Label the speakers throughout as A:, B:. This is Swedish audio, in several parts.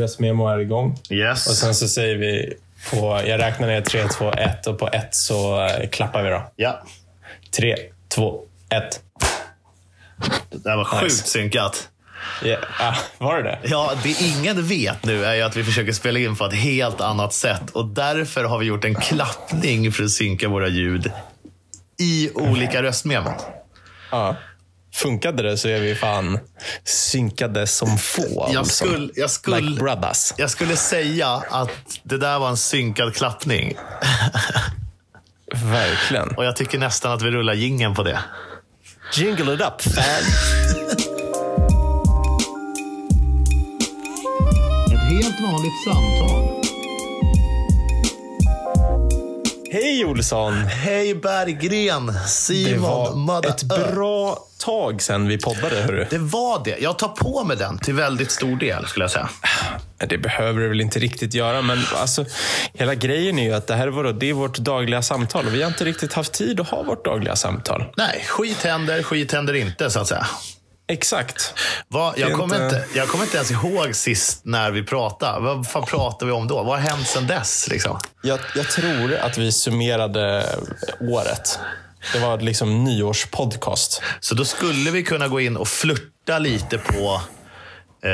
A: Röstmemo är igång.
B: Yes.
A: Och sen så säger vi på... Jag räknar ner 3, 2, 1 och på 1 så eh, klappar vi då.
B: Ja.
A: 3, 2, 1.
B: Det där var sjukt synkat.
A: Ja, ah, var det det?
B: Ja, det ingen vet nu är ju att vi försöker spela in på ett helt annat sätt. Och därför har vi gjort en klappning för att synka våra ljud i olika röstmemon.
A: Ja. Funkade det så är vi fan synkade som få.
B: Jag
A: alltså.
B: skulle, jag,
A: Like
B: skulle,
A: brothers.
B: jag skulle säga att det där var en synkad klappning.
A: Verkligen.
B: Och jag tycker nästan att vi rullar gingen på det.
A: Jingle it up, fan.
B: Ett helt vanligt samtal.
A: Hej Olsson!
B: Hej Berggren,
A: Det
B: Simon,
A: var
B: Mother
A: ett bra tag sedan vi poddade, hörru.
B: Det var det. Jag tar på mig den till väldigt stor del, skulle jag säga.
A: Nej, Det behöver du väl inte riktigt göra, men alltså, hela grejen är ju att det här är, vår, det är vårt dagliga samtal och vi har inte riktigt haft tid att ha vårt dagliga samtal.
B: Nej, skit händer, skit händer inte, så att säga.
A: Exakt.
B: Va,
A: Det
B: jag,
A: är
B: kommer
A: inte-
B: inte, jag kommer inte ens ihåg sist när vi pratade. Vad fan pratade vi om då? Vad har hänt sedan dess? Liksom?
A: Jag, jag tror att vi summerade året. Det var liksom nyårspodcast.
B: Så då skulle vi kunna gå in och flirta lite på eh,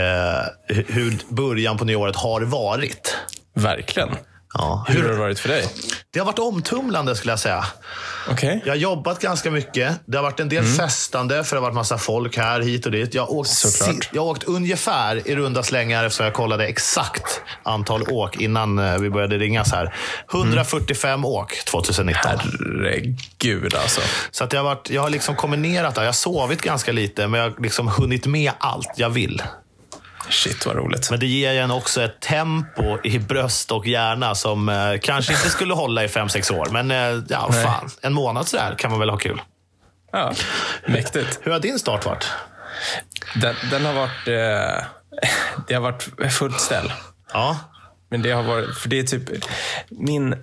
B: hu- hur början på nyåret har varit.
A: Verkligen.
B: Ja.
A: Hur har
B: Hur,
A: det varit för dig?
B: det har varit omtumlande, skulle jag säga.
A: Okej.
B: Jag har jobbat ganska mycket. Det har varit en
A: Mm.
B: del festande, för det har varit massa folk här, hit och dit. Jag har åkt,
A: Såklart.
B: jag har åkt ungefär i runda slängar, eftersom jag kollade exakt antal åk innan eh, vi började ringas här. 145
A: Mm.
B: åk 2019.
A: Herregud alltså.
B: Så att jag, har varit, jag har liksom kombinerat det. Jag har sovit ganska lite, men jag har liksom hunnit med allt jag vill.
A: Shit vad roligt.
B: Men det ger ju en också ett tempo i bröst och hjärna som eh, kanske inte skulle hålla i fem sex år. Men eh, ja,
A: Nej.
B: fan. En månad sådär kan man väl ha kul.
A: Ja, mäktigt.
B: Hur har din start varit?
A: Den, den har varit... Eh, det har varit fullt ställ.
B: Ja.
A: Men det har varit, för det är typ, min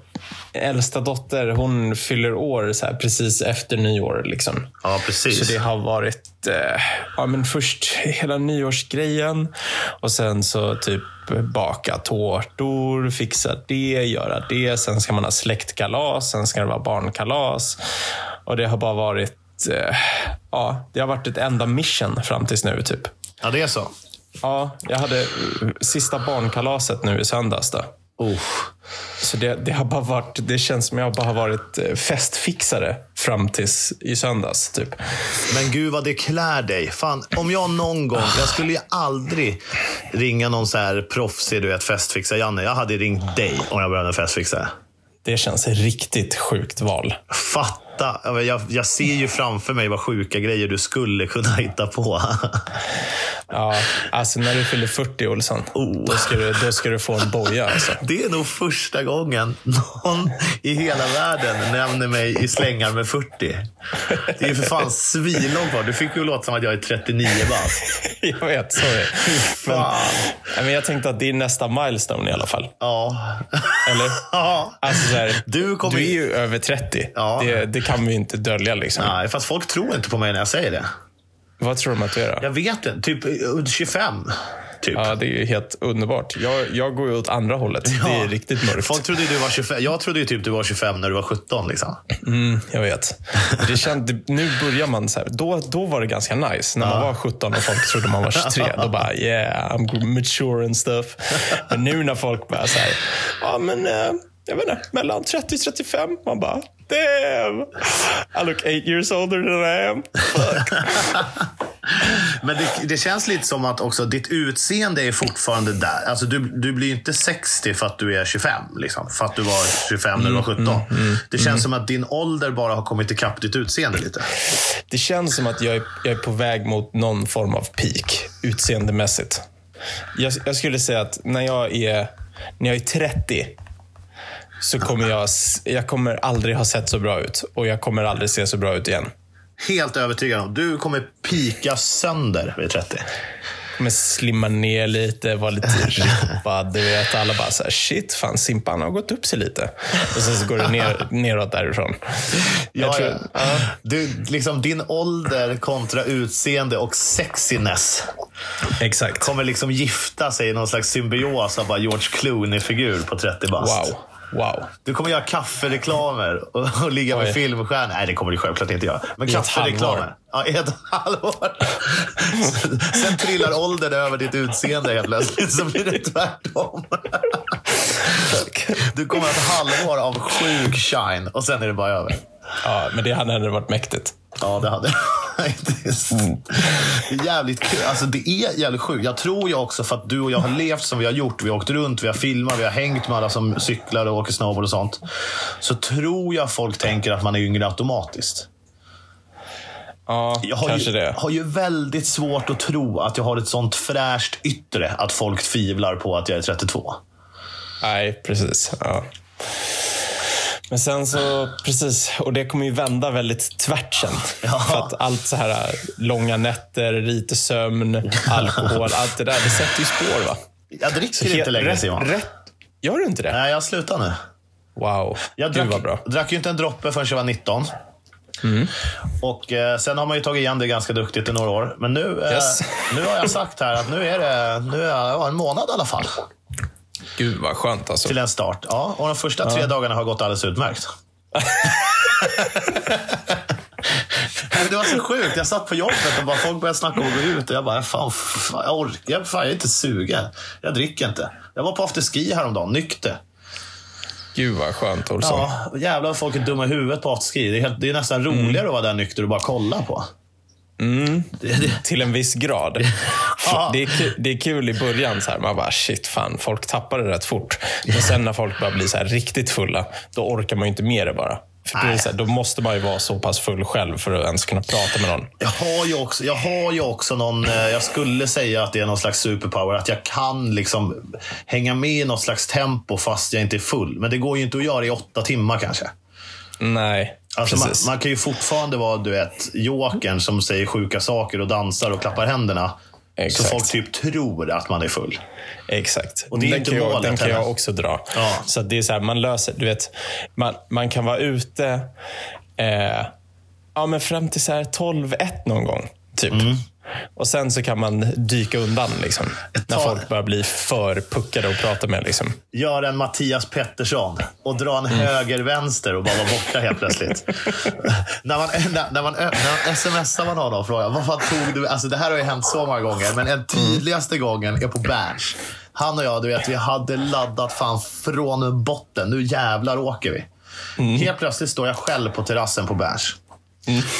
A: äldsta dotter hon fyller år så här precis efter nyår. Liksom.
B: Ja,
A: Så
B: precis.
A: det har varit eh, ja, men först hela nyårsgrejen och sen så typ baka tårtor, fixa det, göra det. Sen ska man ha släktkalas, sen ska det vara barnkalas. Och det har bara varit eh, Ja, det har varit ett enda mission fram tills nu. typ.
B: Ja, det är så.
A: Ja, jag hade eh, sista barnkalaset nu i söndags. Då. Så det, det har bara varit, det känns som jag bara har varit eh, festfixare fram tills i söndags. Typ.
B: Men gud vad det klär dig. Fan, om jag någon gång...
A: Ah.
B: Jag skulle ju aldrig ringa någon så här proffsig, du vet, festfixar-Janne. Jag hade ringt dig om jag behövde en festfixare.
A: Det känns riktigt sjukt val.
B: Fatta! Ja, men Jag, jag ser ju framför mig vad sjuka grejer du skulle kunna hitta på.
A: Ja, alltså när du fyller 40 Olsson,
B: Oh.
A: då, ska du, då ska du få en boja. Alltså.
B: Det är nog första gången någon i hela världen nämner mig i slängar med 40. Det är ju för fan svinlångt kvar. Du fick ju låta som att jag är 39 bast.
A: Jag vet, sorry. Men,
B: Fan.
A: nej, men jag tänkte att det är nästa milestone i alla fall.
B: Ja.
A: Eller?
B: ja.
A: Alltså, så här,
B: Du kommer
A: du är ju över 30.
B: Ja.
A: Det, det kan vi ju inte dölja. Liksom.
B: Nej, fast folk tror inte på mig när jag säger det.
A: Vad tror de att du är då?
B: Jag vet inte. Typ eh, 25. Typ.
A: Ja, det är ju helt underbart. Jag, jag går ju åt andra hållet. Det är
B: Ja.
A: riktigt mörkt.
B: Folk trodde ju du var 25. Jag trodde ju typ du var 25 när du var 17. Liksom.
A: Jag vet. Det känd, nu börjar man så här. Då, då var det ganska nice. När man var 17 och folk trodde man var 23. Då bara yeah, I'm mature and stuff. Men nu när folk bara så här. Ja, men eh, jag vet inte. Mellan 30 och 35. Man bara damn. I look eight years older than I am.
B: Men det, det känns lite som att också ditt utseende är fortfarande där. Alltså du, du blir ju inte 60 för att du är 25. Liksom, för att du var 25 när du var
A: Mm,
B: 17. det känns som att din ålder bara har kommit ikapp ditt utseende lite.
A: Det känns som att jag är, jag är på väg mot någon form av peak utseendemässigt. Jag, jag skulle säga att när jag är, när jag är 30 så kommer jag, s- jag kommer aldrig ha sett så bra ut och jag kommer aldrig se så bra ut igen.
B: Helt övertygad om. Du kommer pika sönder vid 30.
A: Men slimma ner lite, vara lite rippad. Du vet, alla bara så här, shit, fan Simpan har gått upp sig lite. Och sen så går det ner, neråt därifrån.
B: Ja,
A: Jag tror,
B: ja. Du, liksom din ålder kontra utseende och sexiness
A: Exakt.
B: kommer liksom gifta sig i någon slags symbios av bara George Clooney-figur på 30 bast.
A: Wow. Wow.
B: Du kommer göra kaffereklamer och, och ligga med
A: Oj.
B: filmstjärnor. Nej, det kommer du självklart inte göra. Men
A: I ett
B: kaffereklamer.
A: halvår.
B: Ja, i ett halvår. Sen- Sen trillar åldern över ditt utseende helt plötsligt, så blir det tvärtom. Du kommer ha ett halvår av sjuk shine och sen är det bara över.
A: Ja, men det hade varit mäktigt.
B: Ja, det hade jag faktiskt.
A: Mm.
B: Det är jävligt kul. Alltså, det är jävligt sjukt. Jag tror jag också, för att du och jag har levt som vi har gjort. Vi har åkt runt, vi har filmat, vi har hängt med alla som cyklar och åker snowboard och sånt. Så tror jag folk tänker att man är yngre automatiskt.
A: Ja,
B: Jag har
A: kanske
B: ju,
A: det.
B: har ju väldigt svårt att tro att jag har ett sånt fräscht yttre att folk tvivlar på att jag är 32.
A: Nej, precis. Ja. Men sen så, precis, och det kommer ju vända väldigt tvärt sen.
B: Ja.
A: För att allt så här långa nätter, lite sömn, alkohol, allt det där, det sätter ju spår va?
B: Jag dricker inte längre
A: rätt,
B: Simon.
A: rätt, Gör du inte det?
B: Nej, jag slutar nu.
A: Wow,
B: Jag
A: gud
B: drack,
A: vad bra. Mm.
B: drack ju inte en droppe förrän jag var 19. Och eh, Sen har man ju tagit igen det ganska duktigt i några år. Men nu, eh,
A: Yes.
B: nu har jag sagt här att nu är det nu är jag, ja, en månad i alla fall
A: Gud vad skönt alltså.
B: till en start. Ja, och de första tre dagarna har gått alldeles utmärkt. Men Det var så sjukt. Jag satt på jobbet och bara, folk började snacka om att gå ut. Och jag bara, fan, fan jag orkar jag, fan, jag är inte sugen. Jag dricker inte. Jag var på afterski häromdagen, nykter.
A: Gud vad skönt Olsson.
B: Ja, jävlar vad folk är dumma i huvudet på afterski. Det är, helt, det är nästan
A: Mm.
B: roligare att vara där nykter och bara kolla på. Det, det,
A: Till en viss grad.
B: Ja.
A: Det är, kul, det är kul i början, så här, man bara shit fan, folk tappar det rätt fort. Men sen när folk börjar bli så här riktigt fulla, då orkar man ju inte med det bara. För då, är det så här, då måste man ju vara så pass full själv för att ens kunna prata med någon.
B: jag, har ju också, jag har ju också någon, eh, jag skulle säga att det är någon slags superpower. Att jag kan liksom hänga med i något slags tempo fast jag inte är full. Men det går ju inte att göra i åtta timmar kanske.
A: Nej,
B: Alltså man,
A: precis.
B: man kan ju fortfarande vara du vet, jokern som säger sjuka saker och dansar och klappar händerna. Så
A: Exakt.
B: folk typ tror att man är full.
A: Exakt.
B: det är ju
A: den
B: inte
A: kan, jag,
B: målet
A: den kan
B: heller.
A: jag också dra.
B: Ja.
A: Så att det är så här, man löser, du vet, man, man kan vara ute eh, ja, men fram till så här 12-1 någon gång. Typ.
B: Mm.
A: Och sen så kan man dyka undan liksom, när
B: tag-
A: folk börjar bli för puckade att prata med. Liksom.
B: göra en Mattias Pettersson och dra en höger-vänster och bara vara borta helt plötsligt. när, man, när, när, man, ö- när man smsar man honom och frågar vad fan tog du? Alltså det här har ju hänt så många gånger, men den tydligaste gången är på Berns. Han och jag, du vet, vi hade laddat fan från botten. Nu jävlar åker vi. Helt plötsligt står jag själv på terrassen på Berns.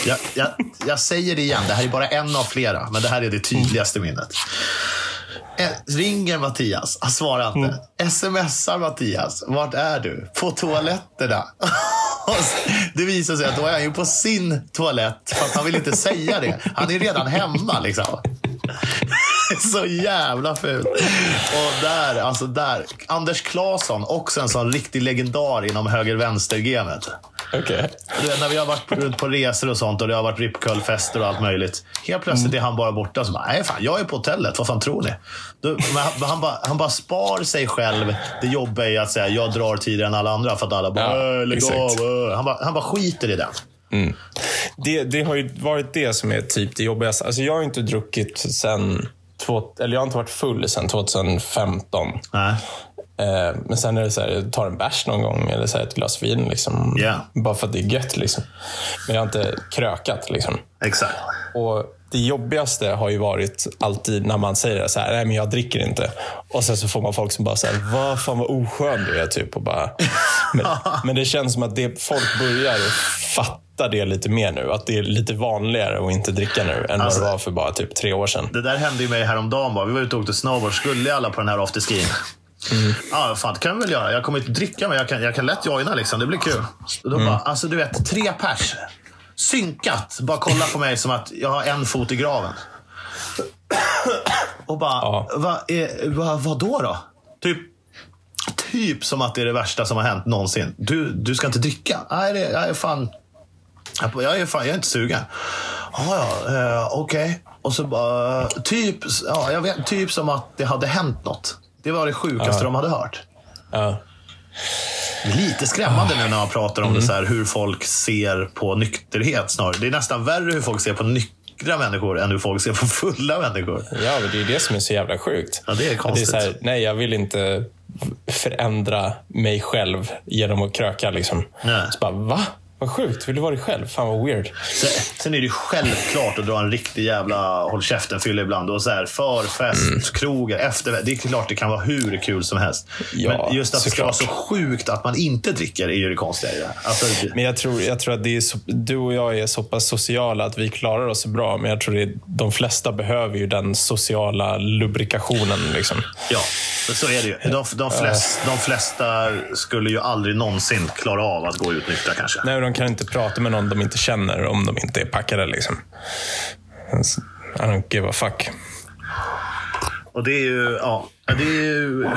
B: Jag, jag, jag säger det igen, det här är bara en av flera, men det här är det tydligaste minnet. Eh, Ringer Mattias, han svarar inte. Smsar Mattias, vart är du? På toaletterna. Och det visar sig att då är han ju på sin toalett, fast han vill inte säga det. Han är redan hemma liksom. Så jävla fult. Och där, alltså där. Anders Claesson, också en sån riktig legendar inom höger-vänster-gamet.
A: Okej.
B: Du vet, när vi har varit runt på resor och sånt och det har varit ripcurl-fester och allt möjligt. Helt plötsligt är han bara borta. Så bara, Nej, fan, jag är på hotellet. Vad fan tror ni? Då, men han, han, bara, han bara spar sig själv det jobbiga i att säga jag drar tidigare än alla andra. För att alla bara,
A: Ja,
B: "Äh, lägg
A: exakt.
B: av. äh." Han bara, han bara skiter i den.
A: Det, det har ju varit det som är typ det jobbigaste. Alltså, jag har inte druckit sen... Två, eller jag har inte varit full sen 2015.
B: Nej.
A: Eh, men sen är det så här, jag tar en bärs någon gång eller så här ett glas vin. Liksom,
B: Ja.
A: Bara för att det är gött. Liksom. Men jag har inte krökat. Liksom.
B: Exakt.
A: Och det jobbigaste har ju varit alltid när man säger så här, nej men jag dricker inte. Och sen så får man folk som bara säger, vad fan vad oskön du är. Typ, och bara, men, men det känns som att det, folk börjar fatta det lite mer nu. Att det är lite vanligare att inte dricka nu än
B: Alltså-
A: vad det var för bara typ tre år sedan.
B: Det där hände ju mig häromdagen. Bara. Vi var ute och åkte snowboard. Skulle alla på den här afterskin? Ja, fan det kan vi väl göra. Jag kommer inte dricka, men jag kan, jag kan lätt joina. Liksom. Det blir kul. Och då bara, alltså du vet, tre pers. Synkat. Bara kolla på mig som att jag har en fot i graven. Och bara,
A: Ja.
B: va, är, va, vadå då? Typ, typ som att det är det värsta som har hänt någonsin. Du, du ska inte dricka? Nej, det, jag är fan... Jag är, fan, jag är inte sugen. Ah, ja, eh, okej. Och Och så bara, typ, ja, jag vet, typ som att det hade hänt något. Det var det sjukaste de hade hört.
A: Ja.
B: Det är lite skrämmande nu när man pratar om det så här, hur folk ser på nykterhet snarare. Det är nästan värre hur folk ser på nyktra människor än hur folk ser på fulla människor.
A: Ja, men det är ju det som är så jävla sjukt.
B: Ja, det är
A: Att
B: konstigt.
A: så här, nej, jag vill inte förändra mig själv genom att kröka. Liksom.
B: Nej.
A: Så bara, va? Vad sjukt. Vill du vara dig själv? Fan vad weird.
B: Sen, sen är det ju självklart att dra en riktig jävla håll käften-fylla ibland. Och så här, förfest,
A: Mm.
B: krogar, efter. Det är klart det kan vara hur kul som helst.
A: Ja,
B: Men just att det ska vara
A: såklart.
B: så sjukt att man inte dricker är ju det konstiga i det här. Alltså,
A: Men jag tror, jag tror att det är så, du och jag är så pass sociala att vi klarar oss bra. Men jag tror att de flesta behöver ju den sociala lubrikationen. Liksom.
B: Ja, så är det ju. De, de, flest,
A: Eh.
B: de flesta skulle ju aldrig någonsin klara av att gå ut nyktra kanske.
A: Nej, men de kan inte prata med någon de inte känner om de inte är packade. Liksom. Alltså, I don't give a fuck.
B: Och det är ju... Ja, ja, det är ju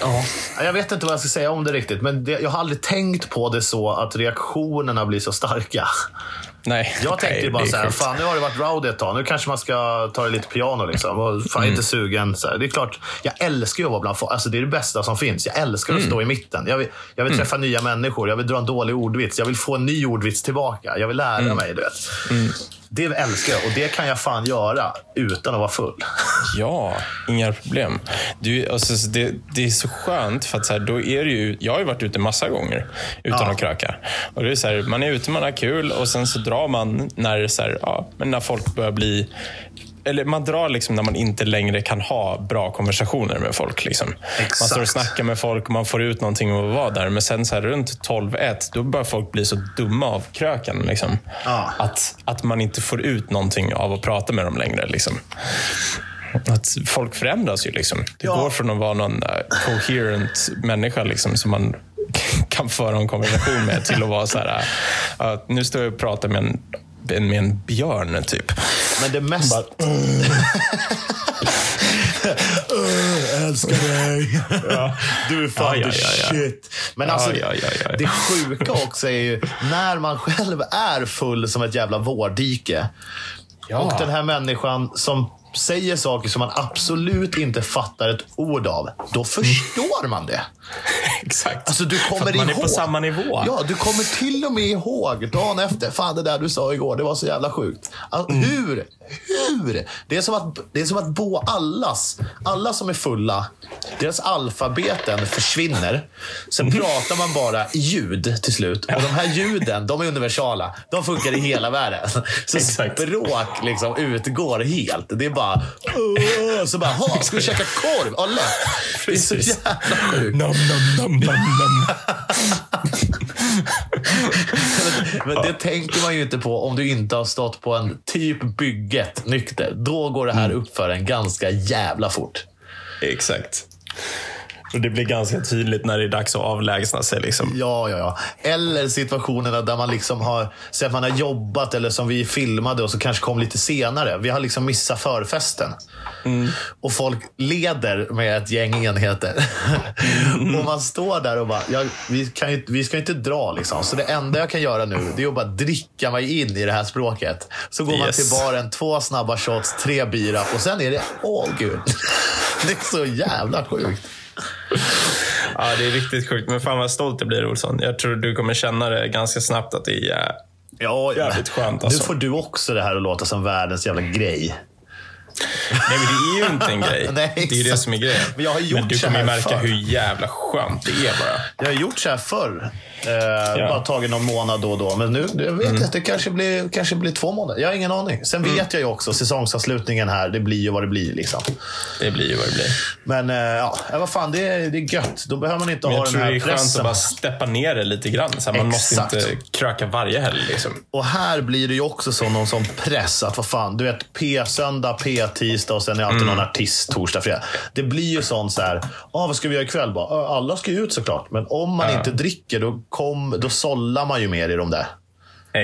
B: ja. Jag vet inte vad jag ska säga om det riktigt, men det, jag har aldrig tänkt på det så att reaktionerna blir så starka.
A: Nej.
B: Jag tänkte
A: nej,
B: ju bara
A: det är
B: så här,
A: sjukt.
B: fan nu har det varit rowdy ett tag. Nu kanske man ska ta det lite piano liksom. Och fan, jag är inte
A: Mm.
B: sugen. Så här. Det är klart, jag älskar ju att vara bland folk. Alltså, det är det bästa som finns. Jag älskar
A: Mm.
B: att stå i mitten. Jag vill, jag vill träffa nya människor. Jag vill dra en dålig ordvits. Jag vill få en ny ordvits tillbaka. Jag vill lära
A: Mm.
B: mig, du vet. Det älskar jag och det kan jag fan göra utan att vara full.
A: Ja, inga problem. Du, alltså, så det, det är så skönt, för att så här, då är det ju, jag har ju varit ute massa gånger utan
B: Ja.
A: att kröka. Och det är så här, man är ute, man har kul och sen så drar man när, så här, ja, men när folk börjar bli... Eller man drar liksom när man inte längre kan ha bra konversationer med folk. Liksom. Man står och
B: Exakt.
A: snackar med folk och man får ut någonting av att vara där. Men sen så här, runt 12-1, då börjar folk bli så dumma av kröken. Liksom.
B: Ja.
A: Att, att man inte får ut någonting av att prata med dem längre. Liksom. Att folk förändras ju. Liksom. Det
B: Ja.
A: går från att vara någon eh, coherent människa liksom, som man kan föra en konversation med till att vara så här, eh, att nu står jag och pratar med en, med en björn, typ.
B: Men det mest... Öh, älskar dig. Du är fan
A: Ja, ja, ja, ja.
B: the shit. Men
A: Ja,
B: alltså,
A: ja, ja, ja.
B: det sjuka också är ju när man själv är full som ett jävla vårdike. Och den här människan som säger saker som man absolut inte fattar ett ord av. Då förstår man det.
A: Exakt.
B: Alltså du kommer
A: För att man
B: ihåg.
A: är på samma nivå.
B: Ja, du kommer till och med ihåg dagen efter. Fan, det där du sa igår, det var så jävla sjukt. Alltså,
A: Mm.
B: Hur? Hur? Det är som att, det är som att bo allas, alla som är fulla, deras alfabeten försvinner. Sen
A: Mm.
B: pratar man bara i ljud till slut. Och de här ljuden, de är universala. De funkar i hela världen. Så
A: Exakt.
B: språk liksom utgår helt. Det är bara... "Åh", Så bara, ha, ska vi käka korv? Alla. Det är så
A: Precis.
B: jävla sjukt.
A: Nom, nom, nom, nom, nom.
B: Men det tänker man ju inte på om du inte har stått på en typ bygget nykter. Då går det här upp för en ganska jävla fort.
A: Exakt. Och det blir ganska tydligt när det är dags att avlägsna sig. Liksom.
B: Ja, ja, ja. Eller situationerna där man liksom har, säg att man har jobbat eller som vi filmade och så kanske kom lite senare. Vi har liksom missat förfesten. Och folk leder med ett gäng enheter. och man står där och bara, ja, vi, kan ju, vi ska ju inte dra liksom. Så det enda jag kan göra nu, det är att bara dricka mig in i det här språket. Så går man
A: Yes.
B: till baren, två snabba shots, tre bira och sen är det all good. det är så jävla sjukt.
A: Ja, det är riktigt sjukt. Men fan vad stolt det blir, Olsson. Jag tror du kommer känna det ganska snabbt att det är... eh,
B: Ja,
A: Jävligt skönt, alltså.
B: Nu får du också det här att låta som världens jävla grej.
A: Nej, men det är ju inte en grej.
B: Nej,
A: det är ju det
B: exakt.
A: som är grejen.
B: Men jag har gjort
A: du
B: så
A: kommer ju
B: här
A: märka
B: förr.
A: hur jävla skönt det är bara.
B: Jag har gjort så här förr. Eh, Bara tagit någon månad då och då. Men nu, jag vet
A: Mm.
B: inte, det kanske blir, kanske blir två månader. Jag har ingen aning. Sen vet jag ju också, säsongsavslutningen här, det blir ju vad det blir. Liksom.
A: Det blir ju vad det blir.
B: Men eh, ja, eh, vad fan, det är, det är gött. Då behöver man inte
A: Men
B: ha
A: jag
B: den
A: tror det
B: här
A: är skönt att
B: pressen.
A: bara steppa ner det lite grann. Så här, man
B: Exakt.
A: måste inte kröka varje helg. Liksom.
B: Och här blir det ju också som någon sån press. Att vad fan, du vet P-söndag, P-tisdag och sen är alltid någon artist torsdag, fredag. Det blir ju sån så här, ah, vad ska vi göra ikväll? Bara, "Ah, alla ska ju ut såklart. Men om man inte dricker, då, kom, då sållar man ju mer i de där.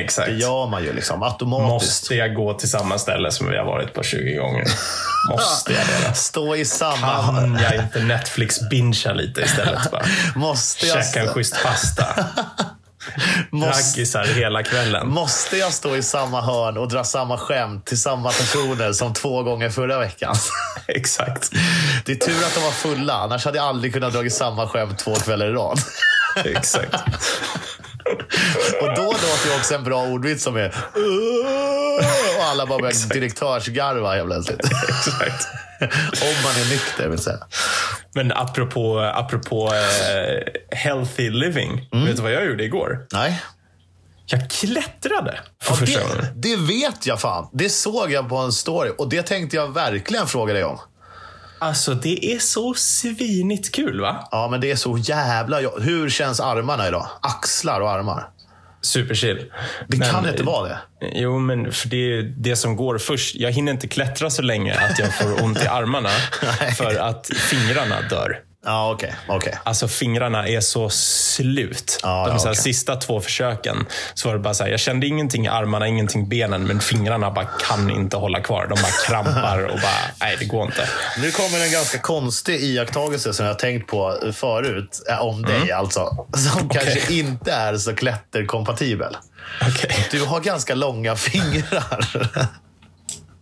A: Exakt.
B: Det gör man ju liksom automatiskt.
A: Måste jag gå till samma ställe som vi har varit på 20 gånger? Måste jag det?
B: Stå i samma...
A: Kan jag inte Netflix-bingea lite istället? Bara?
B: Måste jag...
A: Käka en schysst pasta.
B: Måste,
A: Raggisar hela kvällen.
B: måste jag stå i samma hörn och dra samma skämt till samma personer som två gånger förra veckan?
A: Exakt.
B: Det är tur att de var fulla, annars hade jag aldrig kunnat dra samma skämt två kvällar i rad.
A: Exakt.
B: Och då låter ju också en bra ordvits som är "Åh!" och alla bara börjar direktörsgarva helt plötsligt.
A: Exakt.
B: Om man är nykter vill säga.
A: Men apropå, apropå eh, healthy living.
B: Mm.
A: Vet du vad jag gjorde igår?
B: Nej.
A: Jag klättrade för
B: Ja,
A: första
B: det,
A: gången.
B: det vet jag fan. Det såg jag på en story och det tänkte jag verkligen fråga dig om.
A: Alltså, det är så svinigt kul, va?
B: Ja, men det är så jävla jo- Hur känns armarna idag? Axlar och armar.
A: Superchill.
B: Det kan inte vara det.
A: Jo, men för det är det som går först. Jag hinner inte klättra så länge att jag får ont i armarna för att fingrarna dör.
B: Ja, okej. okej.
A: Alltså fingrarna är så slut.
B: Ja,
A: De
B: ja,
A: så här,
B: okej.
A: sista två försöken så var det bara så här, jag kände ingenting i armarna, ingenting i benen, men fingrarna bara kan inte hålla kvar. De bara krampar och bara, nej det går inte.
B: Nu kommer en ganska konstig iakttagelse som jag har tänkt på förut eh, om dig alltså. Som kanske inte är så klätterkompatibel.
A: Okej.
B: Du har ganska långa fingrar.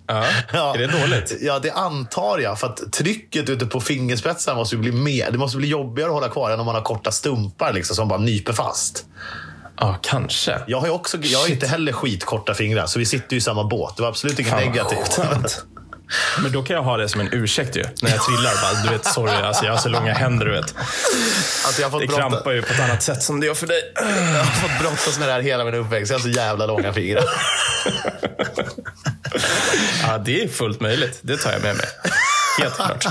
A: Ja.
B: Ja.
A: Är det dåligt?
B: Ja, det antar jag. För att trycket ute på fingerspetsarna måste ju bli mer. Det måste bli jobbigare att hålla kvar än om man har korta stumpar liksom, som bara nyper fast.
A: Ja, kanske.
B: Jag har ju också, jag har ju inte heller skitkorta fingrar, så vi sitter ju i samma båt. Det var absolut inget
A: Fan, vad
B: negativt.
A: skönt. Men då kan jag ha det som en ursäkt ju. När jag trillar bara, du vet, sorry, alltså, jag har så långa händer du vet.
B: Alltså, jag har
A: Det
B: fått, brotta,
A: krampar ju på ett annat sätt som det gör för dig.
B: jag har fått brottas med det här hela min uppväxt. Jag har så jävla långa fingrar.
A: Ja, det är fullt möjligt. Det tar jag med mig. Helt klart.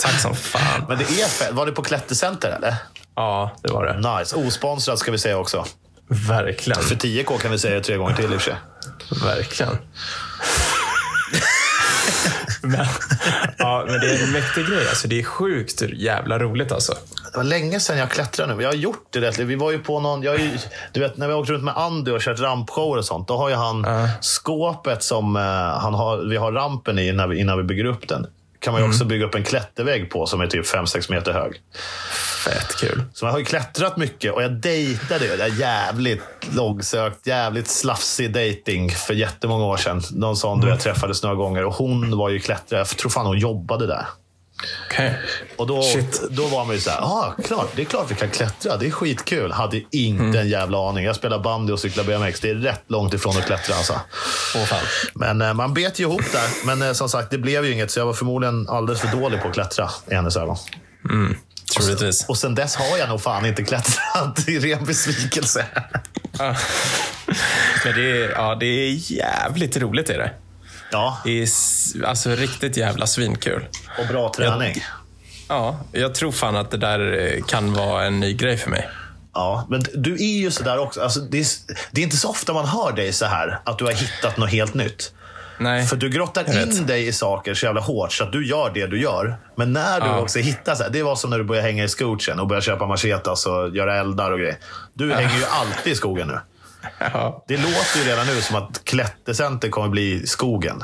A: Tack som fan.
B: Men det är fel. Var det på Klättercenter eller?
A: Ja, det var det.
B: Nice. Osponsrat ska vi säga också.
A: Verkligen.
B: För 10K kan vi säga tre gånger till i och för sig.
A: Verkligen. men, ja, men det är en mäktig grej. Alltså, det är sjukt jävla roligt alltså.
B: Det var länge sedan jag klättrade nu. Jag har gjort det rätt. Vi var ju på någon... Jag är ju, du vet, när vi åkte runt med Andy och kört rampshower och sånt, då har ju han skåpet som eh, han har, vi har rampen i innan vi, innan vi bygger upp den. kan man ju också bygga upp en klättervägg på som är typ 5-6 meter hög.
A: Fett kul.
B: Så jag har ju klättrat mycket och jag dejtade ju. Det är jävligt långsökt, jävligt slafsig dating för jättemånga år sedan. Någon sån du vet, träffades några gånger och hon var ju klättrare. Jag tror fan hon jobbade där.
A: Okej.
B: Och då,
A: Shit.
B: då var man ju såhär, ja ah, klart, det är klart vi kan klättra. Det är skitkul. Hade inte
A: Mm.
B: en jävla aning. Jag spelar bandy och cyklar BMX. Det är rätt långt ifrån att klättra alltså.
A: Åh fan.
B: Men eh, man bet ju ihop där. Men eh, som sagt, det blev ju inget. Så jag var förmodligen alldeles för dålig på att klättra i hennes ögon.
A: Troligtvis.
B: Och sen dess har jag nog fan inte klättrat. i ren besvikelse.
A: Ja. Men det är, ja, det är jävligt roligt. Är det.
B: Ja,
A: det är s- alltså riktigt jävla svinkul.
B: och bra träning.
A: Ja, jag tror fan att det där eh, kan vara en ny grej för mig.
B: Ja, men du är ju sådär också. Alltså, det, är, det är inte så ofta man hör dig så här att du har hittat något helt nytt.
A: Nej.
B: För du grottar
A: Jag vet.
B: in dig i saker så jävla hårt så att du gör det du gör. Men när du också hittar så här, det var som när du började hänga i skogen och började köpa machetas och göra eldar och grejer. Du hänger ju alltid i skogen nu.
A: Ja.
B: Det låter ju redan nu som att klättercenter kommer bli skogen.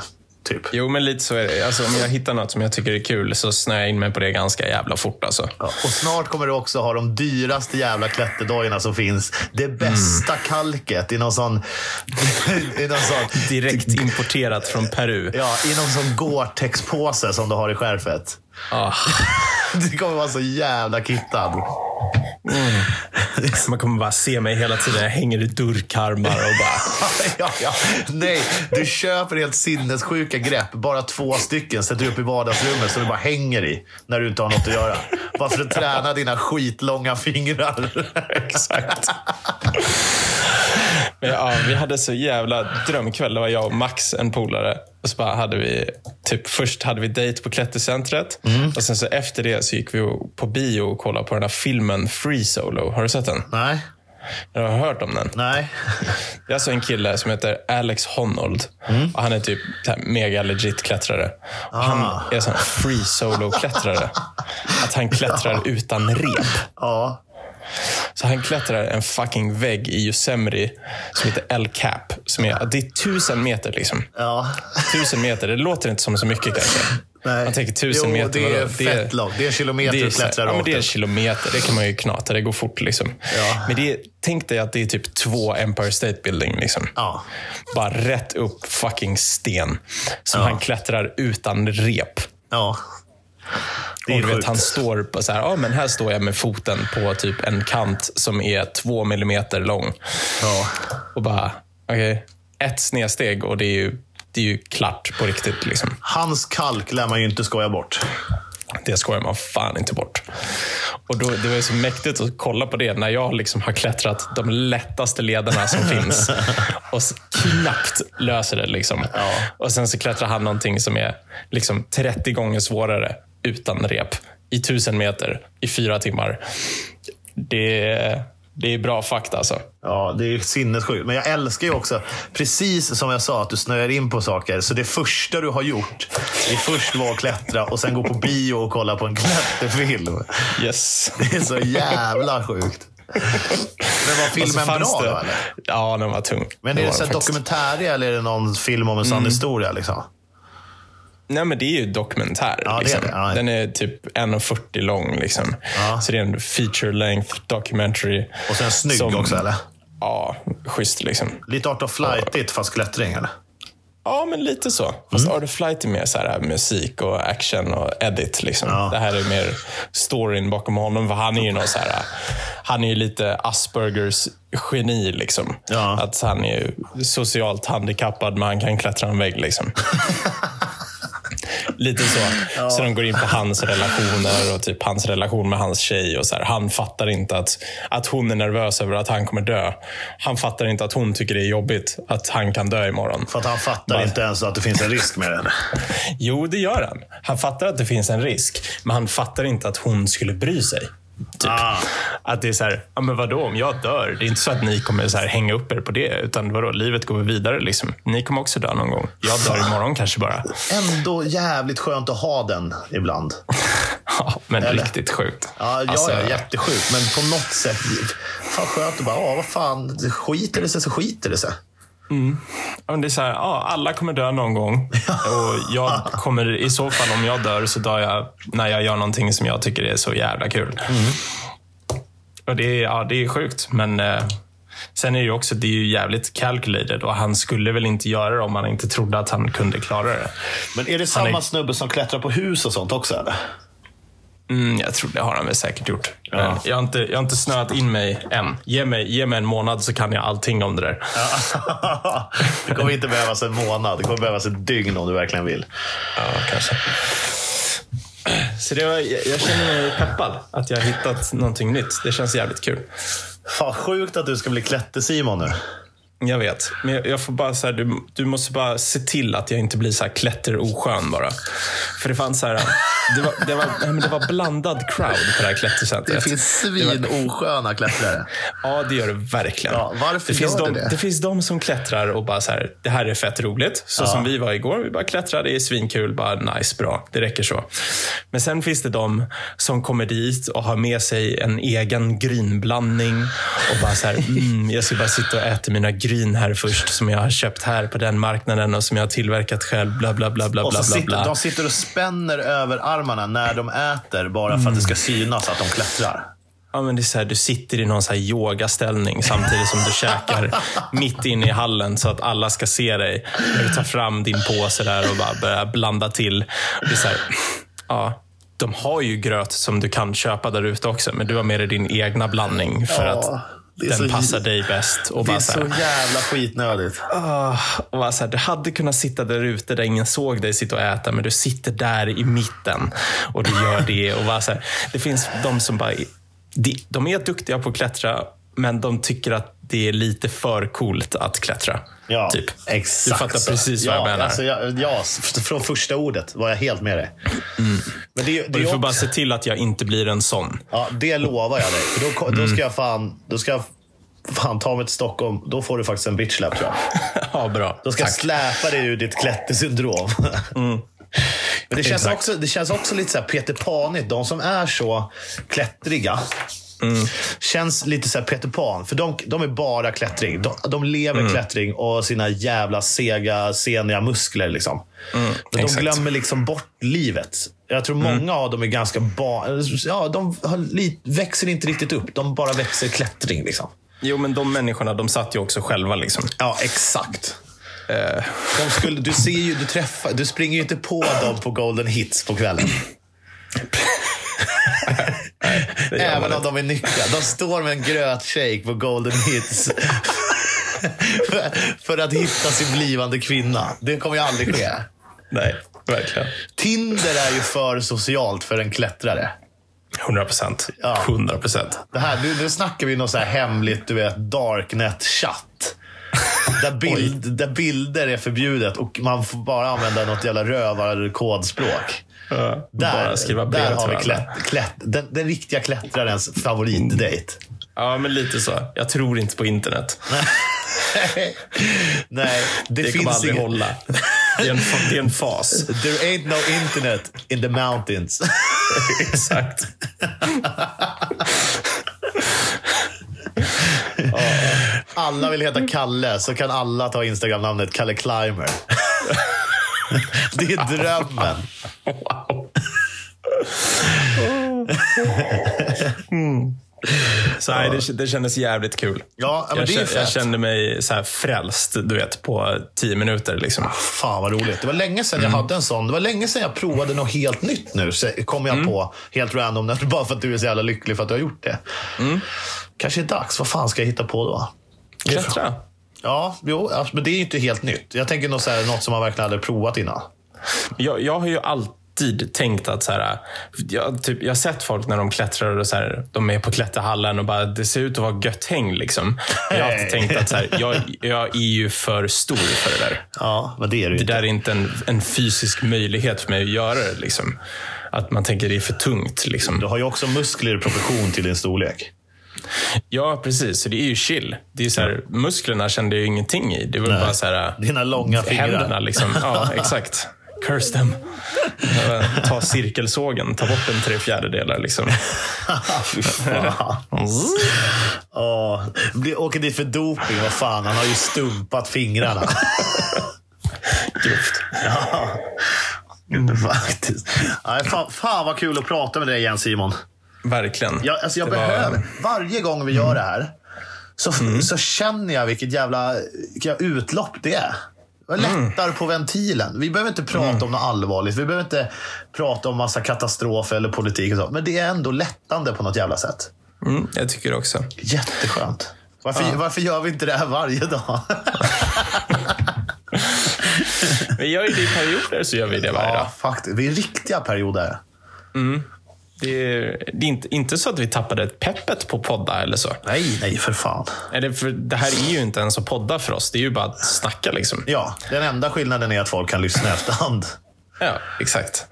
B: Typ.
A: Jo, men lite så är det. Alltså, om jag hittar något som jag tycker är kul så snöar jag in mig på det ganska jävla fort. Alltså.
B: Ja, och snart kommer du också ha de dyraste jävla klätterdojorna som finns. Det
A: Mm.
B: bästa kalket i någon sån... I någon sån
A: Direkt importerat från Peru.
B: Ja, i någon sån Gore-Tex-påse som du har i skärfet.
A: Ja.
B: Det kommer vara så jävla kittad.
A: Mm. Man kommer bara se mig hela tiden. Jag hänger i durkarmar och bara...
B: ja, ja. Nej, du köper helt sinnessjuka grepp. Bara två stycken sätter du upp i vardagsrummet som du bara hänger i när du inte har något att göra. Bara för att träna dina skitlånga fingrar.
A: Exakt. Men ja, vi hade så jävla drömkväll. Det var jag och Max, en polare. Och så bara hade vi, typ, först hade vi dejt på klättercentret. Och sen så efter det så gick vi och- på bio och kollade på den här filmen Free Solo. Har du sett den?
B: nej,
A: Jag har hört om den.
B: nej.
A: Det är alltså en kille som heter Alex Honnold. Och han är typ så här mega legit klättrare. Och Han är en sån här free solo-klättrare. Att han klättrar utan rep.
B: Ja.
A: Så han klättrar en fucking vägg i Yosemite som heter El Cap. Som är, det är tusen meter liksom.
B: Ja.
A: Tusen meter, det låter inte som så mycket kanske.
B: Nej.
A: Man tänker tusen
B: jo,
A: meter.
B: det är
A: vadå?
B: fett långt. Det är kilometer
A: det är,
B: att
A: så här-
B: klättra
A: ja, men
B: rakt
A: det är en
B: upp.
A: kilometer, det kan man ju knata. Det går fort liksom.
B: Ja.
A: Men det, är- tänk dig att det är typ två Empire State Building. Liksom.
B: Ja.
A: Bara rätt upp fucking sten. Som han klättrar utan rep.
B: ja. Det
A: Och
B: är
A: du vet,
B: sjukt.
A: han står på så här, ja men här står jag med foten på typ en kant som är två millimeter lång.
B: Ja.
A: Och bara, okej. Ett snedsteg och det är ju, det är ju klart på riktigt. Liksom.
B: Hans kalk lär man ju inte skoja bort.
A: Det skojar man fan inte bort. Och då, Det var ju så mäktigt att kolla på det när jag liksom har klättrat de lättaste lederna som finns och s- knappt löser det. Liksom. Och Sen så klättrar han någonting som är liksom 30 gånger svårare utan rep i tusen meter i fyra timmar. Det, är- det är bra fakta alltså.
B: Ja, det är ju sinnessjukt. Men jag älskar ju också, precis som jag sa, att du snöar in på saker. Så det första du har gjort, det först var att klättra och sen gå på bio och kolla på en klätterfilm.
A: Yes.
B: Det är så jävla sjukt. Men var
A: Och så
B: filmen
A: Alltså, fanns
B: bra
A: det-
B: då Alltså, eller?
A: Ja, den var tung.
B: Men
A: Den
B: är det
A: var
B: så här
A: den faktiskt. Mm.
B: dokumentäria eller är det någon film om en sann historia? Liksom?
A: Nej, men det är ju dokumentär.
B: det är
A: liksom.
B: det. Ja.
A: Den är typ 1,40 lång. Liksom.
B: Ja.
A: Så det är en feature length documentary.
B: Och sen snygg
A: Som-
B: också eller?
A: Ja, schysst liksom.
B: Lite art of flightigt fast klättring eller?
A: Ja, men lite så. Fast Art of Flight är mer så här, äh, musik och action och edit. Liksom. Det här är mer storyn bakom honom. För han är ju någon så här, äh, han är ju lite Aspergers geni. Liksom.
B: Ja.
A: Att han är ju socialt handikappad, men han kan klättra en vägg. Liksom. Lite så. Så de går in på hans relationer och typ hans relation med hans tjej. Och så här. Han fattar inte att, att hon är nervös över att han kommer dö. Han fattar inte att hon tycker det är jobbigt att han kan dö imorgon.
B: För att han fattar inte ens att det finns en risk med det.
A: Jo, det gör han. Han fattar att det finns en risk, men han fattar inte att hon skulle bry sig. Typ.
B: Ah.
A: Att det är så här, ja, men vadå om jag dör? Det är inte så att ni kommer så här hänga upp er på det, utan vadå, livet går vidare. Liksom. Ni kommer också dö någon gång. Jag dör imorgon kanske bara.
B: Ändå jävligt skönt att ha den ibland.
A: Ja, men riktigt sjukt.
B: Ja, ja,
A: Alltså,
B: ja, jättesjukt. Men på något sätt. Fan skönt att bara, ja vad fan. Skiter det sig så skiter det sig.
A: ja, men det är så här, ja, alla kommer dö någon gång. Och jag kommer, I så fall, om jag dör, så dör jag när jag gör någonting som jag tycker är så jävla kul. Och det, är, ja, det är sjukt, men eh, sen är det ju också det är ju jävligt calculated och han skulle väl inte göra det om han inte trodde att han kunde klara det.
B: Men är det
A: är-
B: samma snubbe som klättrar på hus och sånt också eller?
A: Mm, jag tror det har han väl säkert gjort. Men jag, har inte, jag har inte snöat in mig än. Ge mig, ge mig en månad så kan jag allting om det där.
B: Ja. det kommer inte behövas en månad. Det kommer behövas ett dygn om du verkligen vill.
A: Ja, kanske. Så det var, jag, jag känner mig peppad att jag har hittat någonting nytt. Det känns jävligt kul.
B: Fan sjukt att du ska bli klätter-Simon nu.
A: Jag vet, men jag, jag får bara så här, du, du måste bara se till att jag inte blir så här klätteroskön bara. För det fanns så här, det var, det var, nej, men det var blandad crowd på det här klättercentret.
B: svinosköna klättrare.
A: Ja, det gör det verkligen.
B: Ja, varför
A: det, finns
B: gör det
A: de,
B: det?
A: finns de som klättrar och bara så här, det här är fett roligt. Så som vi var igår, vi bara klättrar, det är svinkul, bara nice, bra, det räcker så. Men sen finns det de som kommer dit och har med sig en egen grynblandning och bara så här, mm, jag ska bara sitta och äta mina gryn här först som jag har köpt här på den marknaden och som jag har tillverkat själv, bla bla bla bla
B: Och så
A: bla. bla,
B: sitter,
A: bla.
B: de sitter och spänner över armarna när de äter bara för att det ska synas att de klättrar.
A: Ja, men det är så här, du sitter i någon så här yogaställning samtidigt som du käkar mitt inne i hallen så att alla ska se dig. När du tar fram din påse där och bara börjar blanda till. Och Det är så här, ja, de har ju gröt som du kan köpa där ute också, men du har med dig din egna blandning för
B: Ja,
A: att
B: det är
A: den
B: så-
A: passar dig bäst. Och
B: Det är
A: bara så
B: så
A: här,
B: jävla skitnödigt.
A: Ah, och var så här, du hade kunnat sitta där ute där ingen såg dig sitta och äta, men du sitter där i mitten och du gör det. Och var så här, det finns de som bara... De, de är duktiga på att klättra, men de tycker att det är lite för coolt att klättra.
B: Ja,
A: typ. Du
B: exakt
A: fattar
B: så.
A: precis vad
B: ja,
A: jag menar.
B: Alltså jag, ja, f- från första ordet var jag helt med dig. Men det, är- det,
A: du
B: är
A: får
B: också,
A: bara se till att jag inte blir en sån.
B: ja, det lovar jag dig. För då, ko- då ska jag fan, då ska jag fan ta mig till Stockholm. Då får du faktiskt en bitch slap, tror jag.
A: ja, bra.
B: Då ska
A: Tack. Mm.
B: jag släpa dig ur ditt klättersyndrom. Men det känns,
A: Exakt.
B: också, det känns också lite så här Peter Panigt. De som är så klättriga
A: Mm.
B: Känns lite så här Peter Pan, för de, de är bara klättring. De, de lever
A: Mm.
B: klättring och sina jävla sega, seniga muskler. Liksom. Men de
A: Mm. exakt. Mm.
B: glömmer liksom bort livet. Jag tror många av dem är ganska barn... Ja, de har li- växer inte riktigt upp. De bara växer klättring. Liksom.
A: Jo, men de människorna, de satt ju också själva. Liksom. Eh,
B: Ja, exakt. De skulle, du ser ju, du träffar, du springer ju inte på dem på golden hits på kvällen.
A: Det gör man
B: Även
A: inte.
B: om de är nyktra. De står med en grötshake på golden hits. för, för att hitta sin blivande kvinna. Det kommer ju aldrig ske.
A: Nej, verkligen.
B: Tinder är ju för socialt för en klättrare.
A: 100 procent.
B: Ja.
A: 100 procent.
B: Det här, nu, nu snackar vi något så här hemligt, du vet, darknet-chatt. Där, bild, där bilder är förbjudet och man får bara använda något jävla rövarkodspråk.
A: Bara skriva
B: Där,
A: brev
B: där
A: till
B: har vi
A: varandra.
B: klätt, klätt, den, den riktiga klättrarens favoritdejt.
A: Ja, men lite så. Jag tror inte på internet.
B: Nej, det,
A: Det kommer
B: finns
A: aldrig
B: inget.
A: hålla. Det är, en, fa- det är en fas.
B: There ain't no internet in the mountains.
A: Exakt.
B: Alla vill heta Kalle, så kan alla ta Instagram-namnet Kalle Climber. Det är drömmen.
A: Wow. Så nej, det, det kändes jävligt kul.
B: Ja, men
A: jag,
B: det är ju
A: kände, jag
B: fett.
A: kände mig så här frälst du vet, på tio minuter. Liksom.
B: Fan vad roligt. Det var länge sedan
A: Mm.
B: jag hade en sån. Det var länge sedan jag provade något helt nytt nu. Så kom
A: Mm.
B: jag på helt random. nu, Bara för att du är så jävla lycklig för att du har gjort det.
A: Mm.
B: Kanske är dags. Vad fan ska jag hitta på då?
A: Klättra.
B: Ja, jo, alltså, men det är ju inte helt nytt. Jag tänker något, så här, något som man verkligen hade provat innan.
A: Jag, jag har ju alltid tänkt att så här, jag, typ, jag har sett folk när de klättrar och så här, de är på klätterhallen och bara, det ser ut att vara gött häng. Liksom. Jag har alltid
B: Nej.
A: tänkt att så här, jag, jag är ju för stor för det där.
B: Ja, men det är det ju
A: Det
B: inte.
A: där är inte en, en fysisk möjlighet för mig att göra det. Liksom. Att man tänker det är för tungt.
B: Du
A: Liksom.
B: har ju också muskler i proportion till din storlek.
A: Ja, precis. Så det är ju chill. Det är så här, musklerna kände jag ju ingenting i. Det var bara så här,
B: Dina långa
A: händerna.
B: fingrar.
A: Liksom. Ja, exakt. Curse them. Eh, Ta cirkelsågen, ta bort en tre fjärdedelar. Liksom.
B: Ah, Fy fan. Ja, blir- åker dit för doping. Vad fan, han har ju stumpat fingrarna.
A: Grovt.
B: Faktiskt. Nej, fan, fan vad kul att prata med dig igen Simon.
A: Verkligen.
B: Jag, alltså jag
A: Det var-
B: behöver, Varje gång vi gör det här så, så känner jag vilket jävla vilket jävla utlopp det är. Jag lättar på ventilen. Vi behöver inte prata om något allvarligt. Vi behöver inte prata om massa katastrofer eller politik. Och så. Men det är ändå lättande på något jävla sätt.
A: Mm, jag tycker det också.
B: Jätteskönt. Varför, varför gör vi inte det här varje dag?
A: Vi gör ju det i perioder, så gör vi det varje dag.
B: ja, faktiskt. Vi är riktiga perioder.
A: Det är, det är inte, inte så att vi tappade peppet på podda eller så.
B: Nej, nej för fan.
A: Eller för det här är ju inte ens att podda för oss. Det är ju bara att snacka liksom.
B: Ja, den enda skillnaden är att folk kan lyssna i efterhand.
A: Ja, exakt.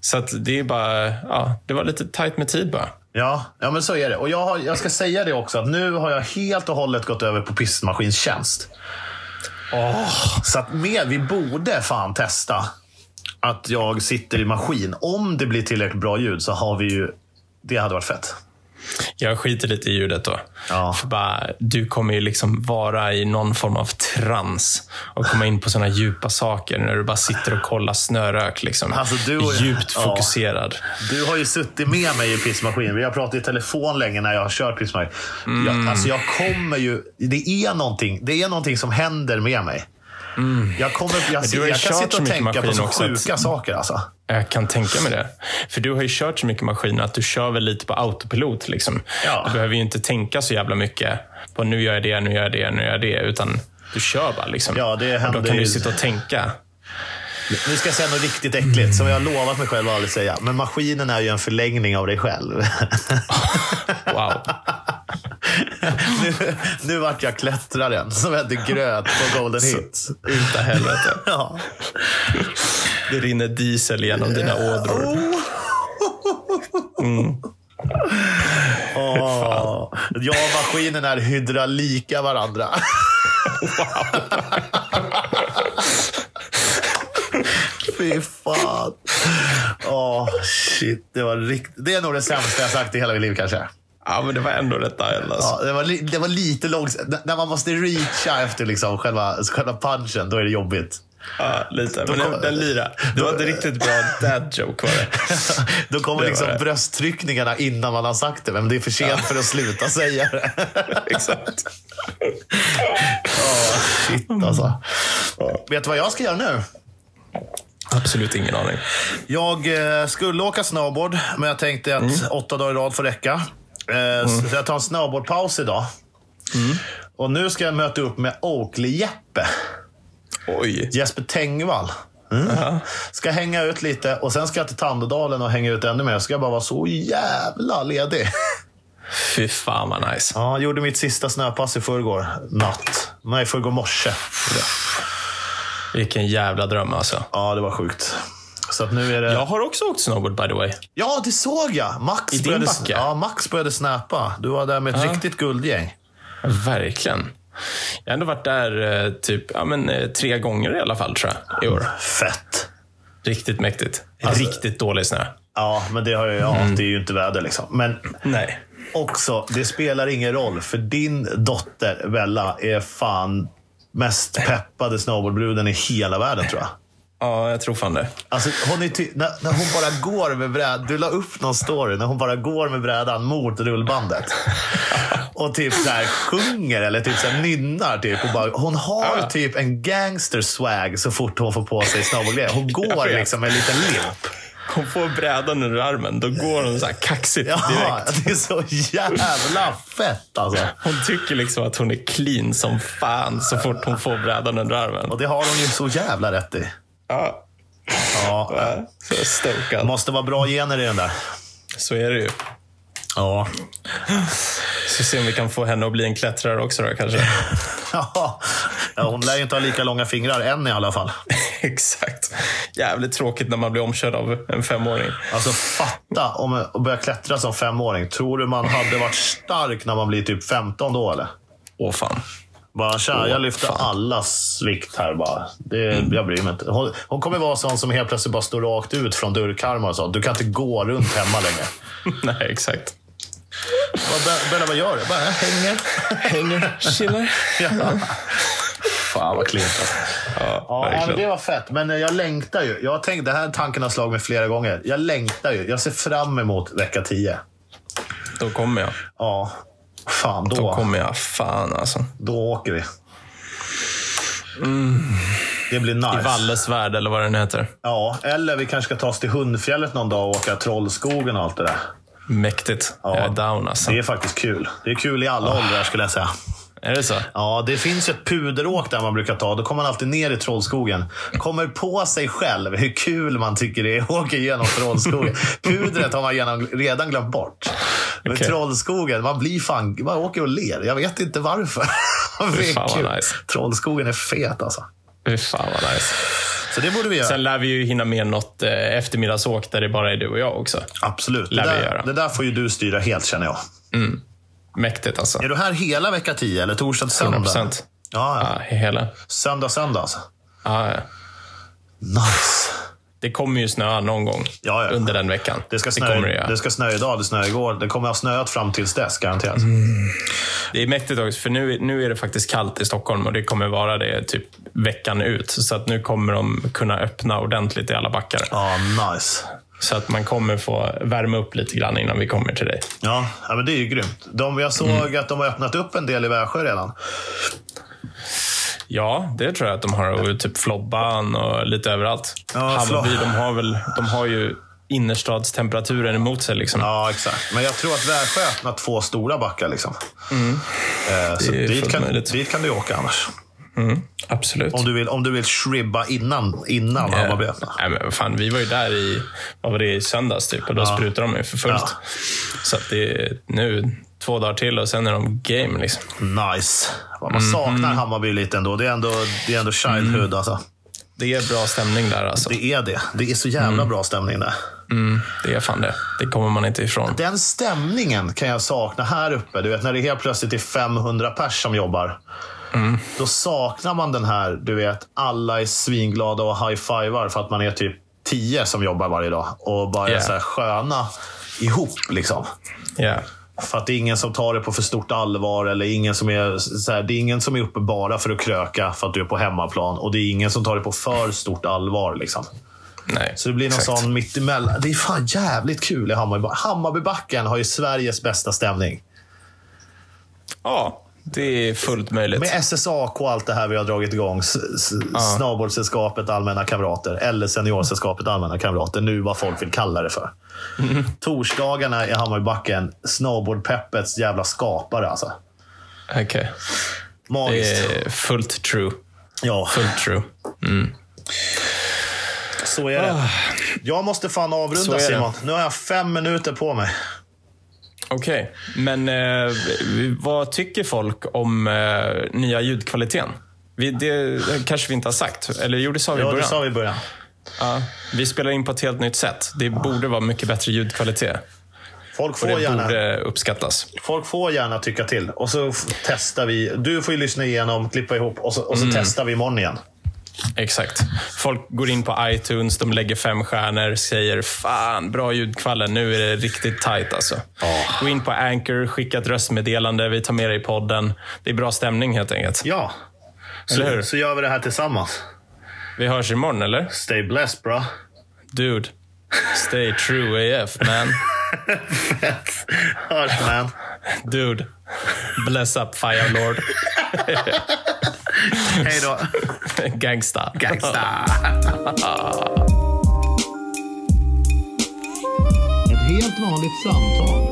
A: Så att det är bara, ja, det var lite tajt med tid bara.
B: Ja, ja men så är det. Och jag, har, jag ska säga det också, att nu har jag helt och hållet gått över på pistmaskinstjänst. Så att med, vi borde fan testa att jag sitter i maskin. Om det blir tillräckligt bra ljud så har vi ju... Det hade varit fett.
A: Jag skiter lite i ljudet då.
B: Ja.
A: För bara, du kommer ju liksom vara i någon form av trans och komma in på såna djupa saker när du bara sitter och kollar snörök. Liksom.
B: Alltså, du-
A: Djupt
B: ja.
A: fokuserad.
B: Du har ju suttit med mig i pissmaskin. Vi har pratat i telefon länge när jag har kört pissmaskin.
A: Mm.
B: Jag, alltså jag kommer ju... Det är, någonting, det är någonting som händer med mig. Jag, kommer, jag,
A: Mm. du har ju
B: jag kan
A: kört
B: sitta
A: så
B: och
A: mycket
B: tänka på
A: maskin
B: så
A: också att-
B: sjuka saker alltså.
A: Jag kan tänka mig det. För du har ju kört så mycket maskiner att du kör väl lite på autopilot. Liksom.
B: Ja.
A: Du behöver ju inte tänka så jävla mycket på nu gör jag det, nu gör jag det, nu gör jag det. Utan du kör bara. Liksom.
B: Ja, det
A: och
B: händer
A: då kan du
B: ju.
A: ju sitta och tänka.
B: Nu ska jag säga något riktigt äckligt som jag har lovat mig själv att aldrig säga. Men maskinen är ju en förlängning av dig själv.
A: Wow.
B: nu, nu vart jag klättraren som hette Gröt på Golden Hits.
A: Utav helvete.
B: Ja.
A: Det rinner diesel genom dina ådror.
B: Oh. Åh. Jag och maskinen är hydraulika varandra. Fy fan. Åh, shit. Det var rikt... Det är nog det sämsta jag sagt i hela mitt liv kanske.
A: Ja, men det var ändå rätt dial alltså.
B: Ja, det, var li- det var lite långsamt. N- När man måste reacha efter liksom själva, själva punchen, då är det jobbigt.
A: Ja, lite. Men den, den lira. Det var inte riktigt bra dad joke var det.
B: Då kommer
A: Det
B: liksom
A: var det.
B: brösttryckningarna innan man har sagt det, men det är för sent för att sluta säga det.
A: Exakt.
B: Shit alltså. Vet du vad jag ska göra nu?
A: Absolut ingen aning.
B: Jag eh, skulle åka snowboard, men jag tänkte att
A: Mm.
B: åtta dagar i rad får räcka. Eh, Så jag tar en snowboardpaus idag.
A: Mm.
B: Och nu ska jag möta upp med Oakley-Jeppe.
A: Oj.
B: Jesper Tengvall. Mm. Ska hänga ut lite och sen ska jag till Tandådalen och hänga ut ännu mer. Ska jag bara vara så jävla ledig.
A: Fy fan vad nice.
B: Ja, jag gjorde mitt sista snöpass i förrgår natt. Nej, förrgår morse.
A: Vilken jävla dröm alltså.
B: Ja, det var sjukt. Så att nu är det...
A: Jag har också åkt snowboard by the way.
B: Ja, det såg jag! Max,
A: I din
B: började,
A: backe?
B: ja, Max började snäpa. Du var där med ett riktigt guldgäng.
A: Verkligen. Jag har ändå varit där eh, typ ja, men, eh, tre gånger i alla fall tror jag i år.
B: Fett!
A: Riktigt mäktigt. Riktigt dålig snö.
B: Ja, men det, har jag, ja,
A: Mm.
B: det är ju inte väder liksom. Men
A: Nej.
B: också, det spelar ingen roll. För din dotter Bella är fan mest peppade snowboardbruden i hela världen tror jag.
A: Ja, jag tror fan det.
B: Alltså, hon är ty- när, när hon bara går med brädan. Du la upp någon story när hon bara går med brädan mot rullbandet. Och typ så här sjunger eller typ så här nynnar. Typ, och bara, hon har typ en gangster swag så fort hon får på sig snowboardgrejer. Hon går
A: vet.
B: liksom med en liten limp.
A: Hon får brädan ur armen, då går hon så här kaxigt
B: Ja,
A: direkt.
B: det är så jävla fett alltså.
A: Hon tycker liksom att hon är clean som fan så fort hon får brädan under armen.
B: Och det har hon ju så jävla rätt i.
A: Ja,
B: Ja,
A: så jag är stokad.
B: måste vara bra gener i den där.
A: Så är det ju.
B: Ja.
A: Ska se om vi kan få henne att bli en klättrare också då kanske.
B: ja. Hon lär ju inte ha lika långa fingrar än i alla fall.
A: Exakt. Jävligt tråkigt när man blir omkörd av en femåring.
B: Alltså fatta om att börja klättra som femåring. Tror du man hade varit stark när man blir typ 15 då eller?
A: Åh fan.
B: Bara tja, jag lyfter
A: fan.
B: allas vikt här bara. Det, Jag bryr mig inte. Hon, hon kommer vara sån som helt plötsligt bara står rakt ut från dörrkarmar och så. Du kan inte gå runt hemma längre.
A: Nej, exakt.
B: Vad- Be- Bella, vad gör du? Bara jag hänger.
A: Hänger, chillar.
B: Ja. Fan vad klint alltså.
A: Ja,
B: Ja, men det
A: verkligen.
B: var fett. Men eh, jag längtar ju. Jag har tänkt, det här tanken har slagit mig flera gånger. Jag längtar ju. Jag ser fram emot vecka 10.
A: Då kommer jag.
B: Ja, fan då.
A: Då kommer jag. Fan alltså.
B: Då åker vi. Det blir nice.
A: I Valles värld eller vad den heter.
B: Ja, eller vi kanske ska ta oss till Hundfjället någon dag och åka Trollskogen och allt det där.
A: Mäktigt. Jag är down alltså.
B: Det är faktiskt kul. Det är kul i
A: Ah.
B: alla åldrar skulle jag säga.
A: Är det så?
B: Ja, det finns ju ett puderåk där man brukar ta. Då kommer man alltid ner i Trollskogen. Kommer på sig själv hur kul man tycker det är att åka igenom Trollskogen. Pudret har man genom, redan glömt bort. Men
A: Okej.
B: Trollskogen, man blir fan... Man åker och ler. Jag vet inte varför. det
A: Fan
B: är
A: vad
B: kul.
A: nice.
B: Trollskogen är fet alltså.
A: Fy fan vad nice.
B: Så det borde vi göra.
A: Sen lär vi ju hinna med något eh, eftermiddagsåk där det bara är du och jag också.
B: Absolut. Det
A: Lär vi
B: där,
A: göra.
B: det där får ju du styra helt känner jag.
A: Mäktigt alltså.
B: Är du här hela vecka 10 eller torsdag till söndag?
A: 100%.
B: Ja, ja.
A: Ja, hela.
B: Söndag, söndag alltså.
A: Ja, ja.
B: Nice.
A: Det kommer ju snöa någon gång
B: Ja, ja.
A: under den veckan.
B: Det ska,
A: det,
B: snöa.
A: kommer det,
B: det,
A: göra.
B: ska snöa idag, det snöade igår. Det kommer ha snöat fram tills dess garanterat.
A: Mm. det är mäktigt också, för nu, nu är det faktiskt kallt i Stockholm och det kommer vara det typ veckan ut. Så att nu kommer de kunna öppna ordentligt i alla backar.
B: Ja, nice.
A: Så att man kommer få värma upp lite grann innan vi kommer till dig.
B: Ja, ja men det är ju grymt. De, jag såg
A: Mm.
B: att de har öppnat upp en del i Värsjö redan.
A: Ja, det tror jag att de har. Och typ Flobban och lite överallt.
B: Ja,
A: Hammarby,
B: Flo-
A: de har, väl, de har ju innerstadstemperaturen emot sig. Liksom.
B: Ja, exakt. Men jag tror att Värsjö har öppnat två stora backar. Liksom. Eh, så
A: Mm. Det är
B: dit
A: fullt
B: kan,
A: möjligt.
B: dit kan du åka annars.
A: Absolut. Eh,
B: Om du vill, om du vill shribba innan, innan Hammarby öppnar.
A: Nej, men fan, vi var ju där i, vad var det, i söndags typ, och då sprutade de ju för fullt.
B: Ja.
A: Så att det är nu två dagar till och sen är de game. Liksom.
B: Nice. Vad Man saknar Hammarby lite ändå. Det är ändå, det är ändå childhood alltså.
A: Det är bra stämning där alltså. Det,
B: Det är det. Det är så jävla bra stämning där.
A: är fan det. Det kommer man inte ifrån.
B: Den stämningen kan jag sakna här uppe. Du vet när det helt plötsligt är 500 pers som jobbar. Då saknar man den här, du vet, alla är svinglada och high-fivar för att man är typ 10 som jobbar varje dag. Och bara är
A: Yeah.
B: så här sköna ihop liksom.
A: Ja.
B: För att det är ingen som tar det på för stort allvar. Eller ingen som är, så här, det är ingen som är uppe bara för att kröka för att du är på hemmaplan. Och det är ingen som tar det på för stort allvar. Liksom.
A: Nej,
B: Så det blir någon
A: exakt.
B: sån mittemellan. Det är fan jävligt kul i Hammarby. Hammarbybacken har ju Sveriges bästa stämning.
A: Ja, det är fullt möjligt.
B: Med SSAK och allt det här vi har dragit igång. S- s- Snowboardsällskapet Allmänna Kamrater. Eller Seniorsällskapet Allmänna Kamrater. Nu vad folk vill kalla det för.
A: Mm.
B: Torsdagarna i Hammarbybacken. Snowboardpeppets jävla skapare alltså.
A: Okej. Det
B: Magiskt.
A: är fullt true.
B: Ja,
A: Fullt true.
B: så är det. Jag måste fan
A: Ah. Så är
B: avrunda
A: det.
B: Simon. Nu har jag fem minuter på mig.
A: Okej, men eh, vad tycker folk om eh, nya ljudkvaliteten? Vi, det kanske vi inte har sagt, eller jo, det sa vi i
B: Ja, det
A: början.
B: sa vi i början.
A: Ja, vi spelar in på ett helt nytt sätt. Det borde vara mycket bättre ljudkvalitet.
B: Folk
A: Det
B: får gärna.
A: borde uppskattas.
B: Folk får gärna tycka till. Och så f- testar vi. Du får ju lyssna igenom, klippa ihop och så, och
A: Mm.
B: så testar vi imorgon igen.
A: Exakt. Folk går in på iTunes, de lägger fem stjärnor, säger fan, bra ljudkvalle, nu är det riktigt tight alltså. Gå in på Anchor, skicka ett röstmeddelande, vi tar med dig i podden. Det är bra stämning helt enkelt.
B: Ja.
A: Eller hur?
B: Så, så gör vi det här tillsammans.
A: Vi hörs imorgon, eller?
B: Stay blessed bra.
A: Dude, stay true AF man.
B: Hörs man.
A: Dude, bless up fire lord.
B: Hej då.
A: Gangsta.
B: Gangsta. Ett helt vanligt samtal.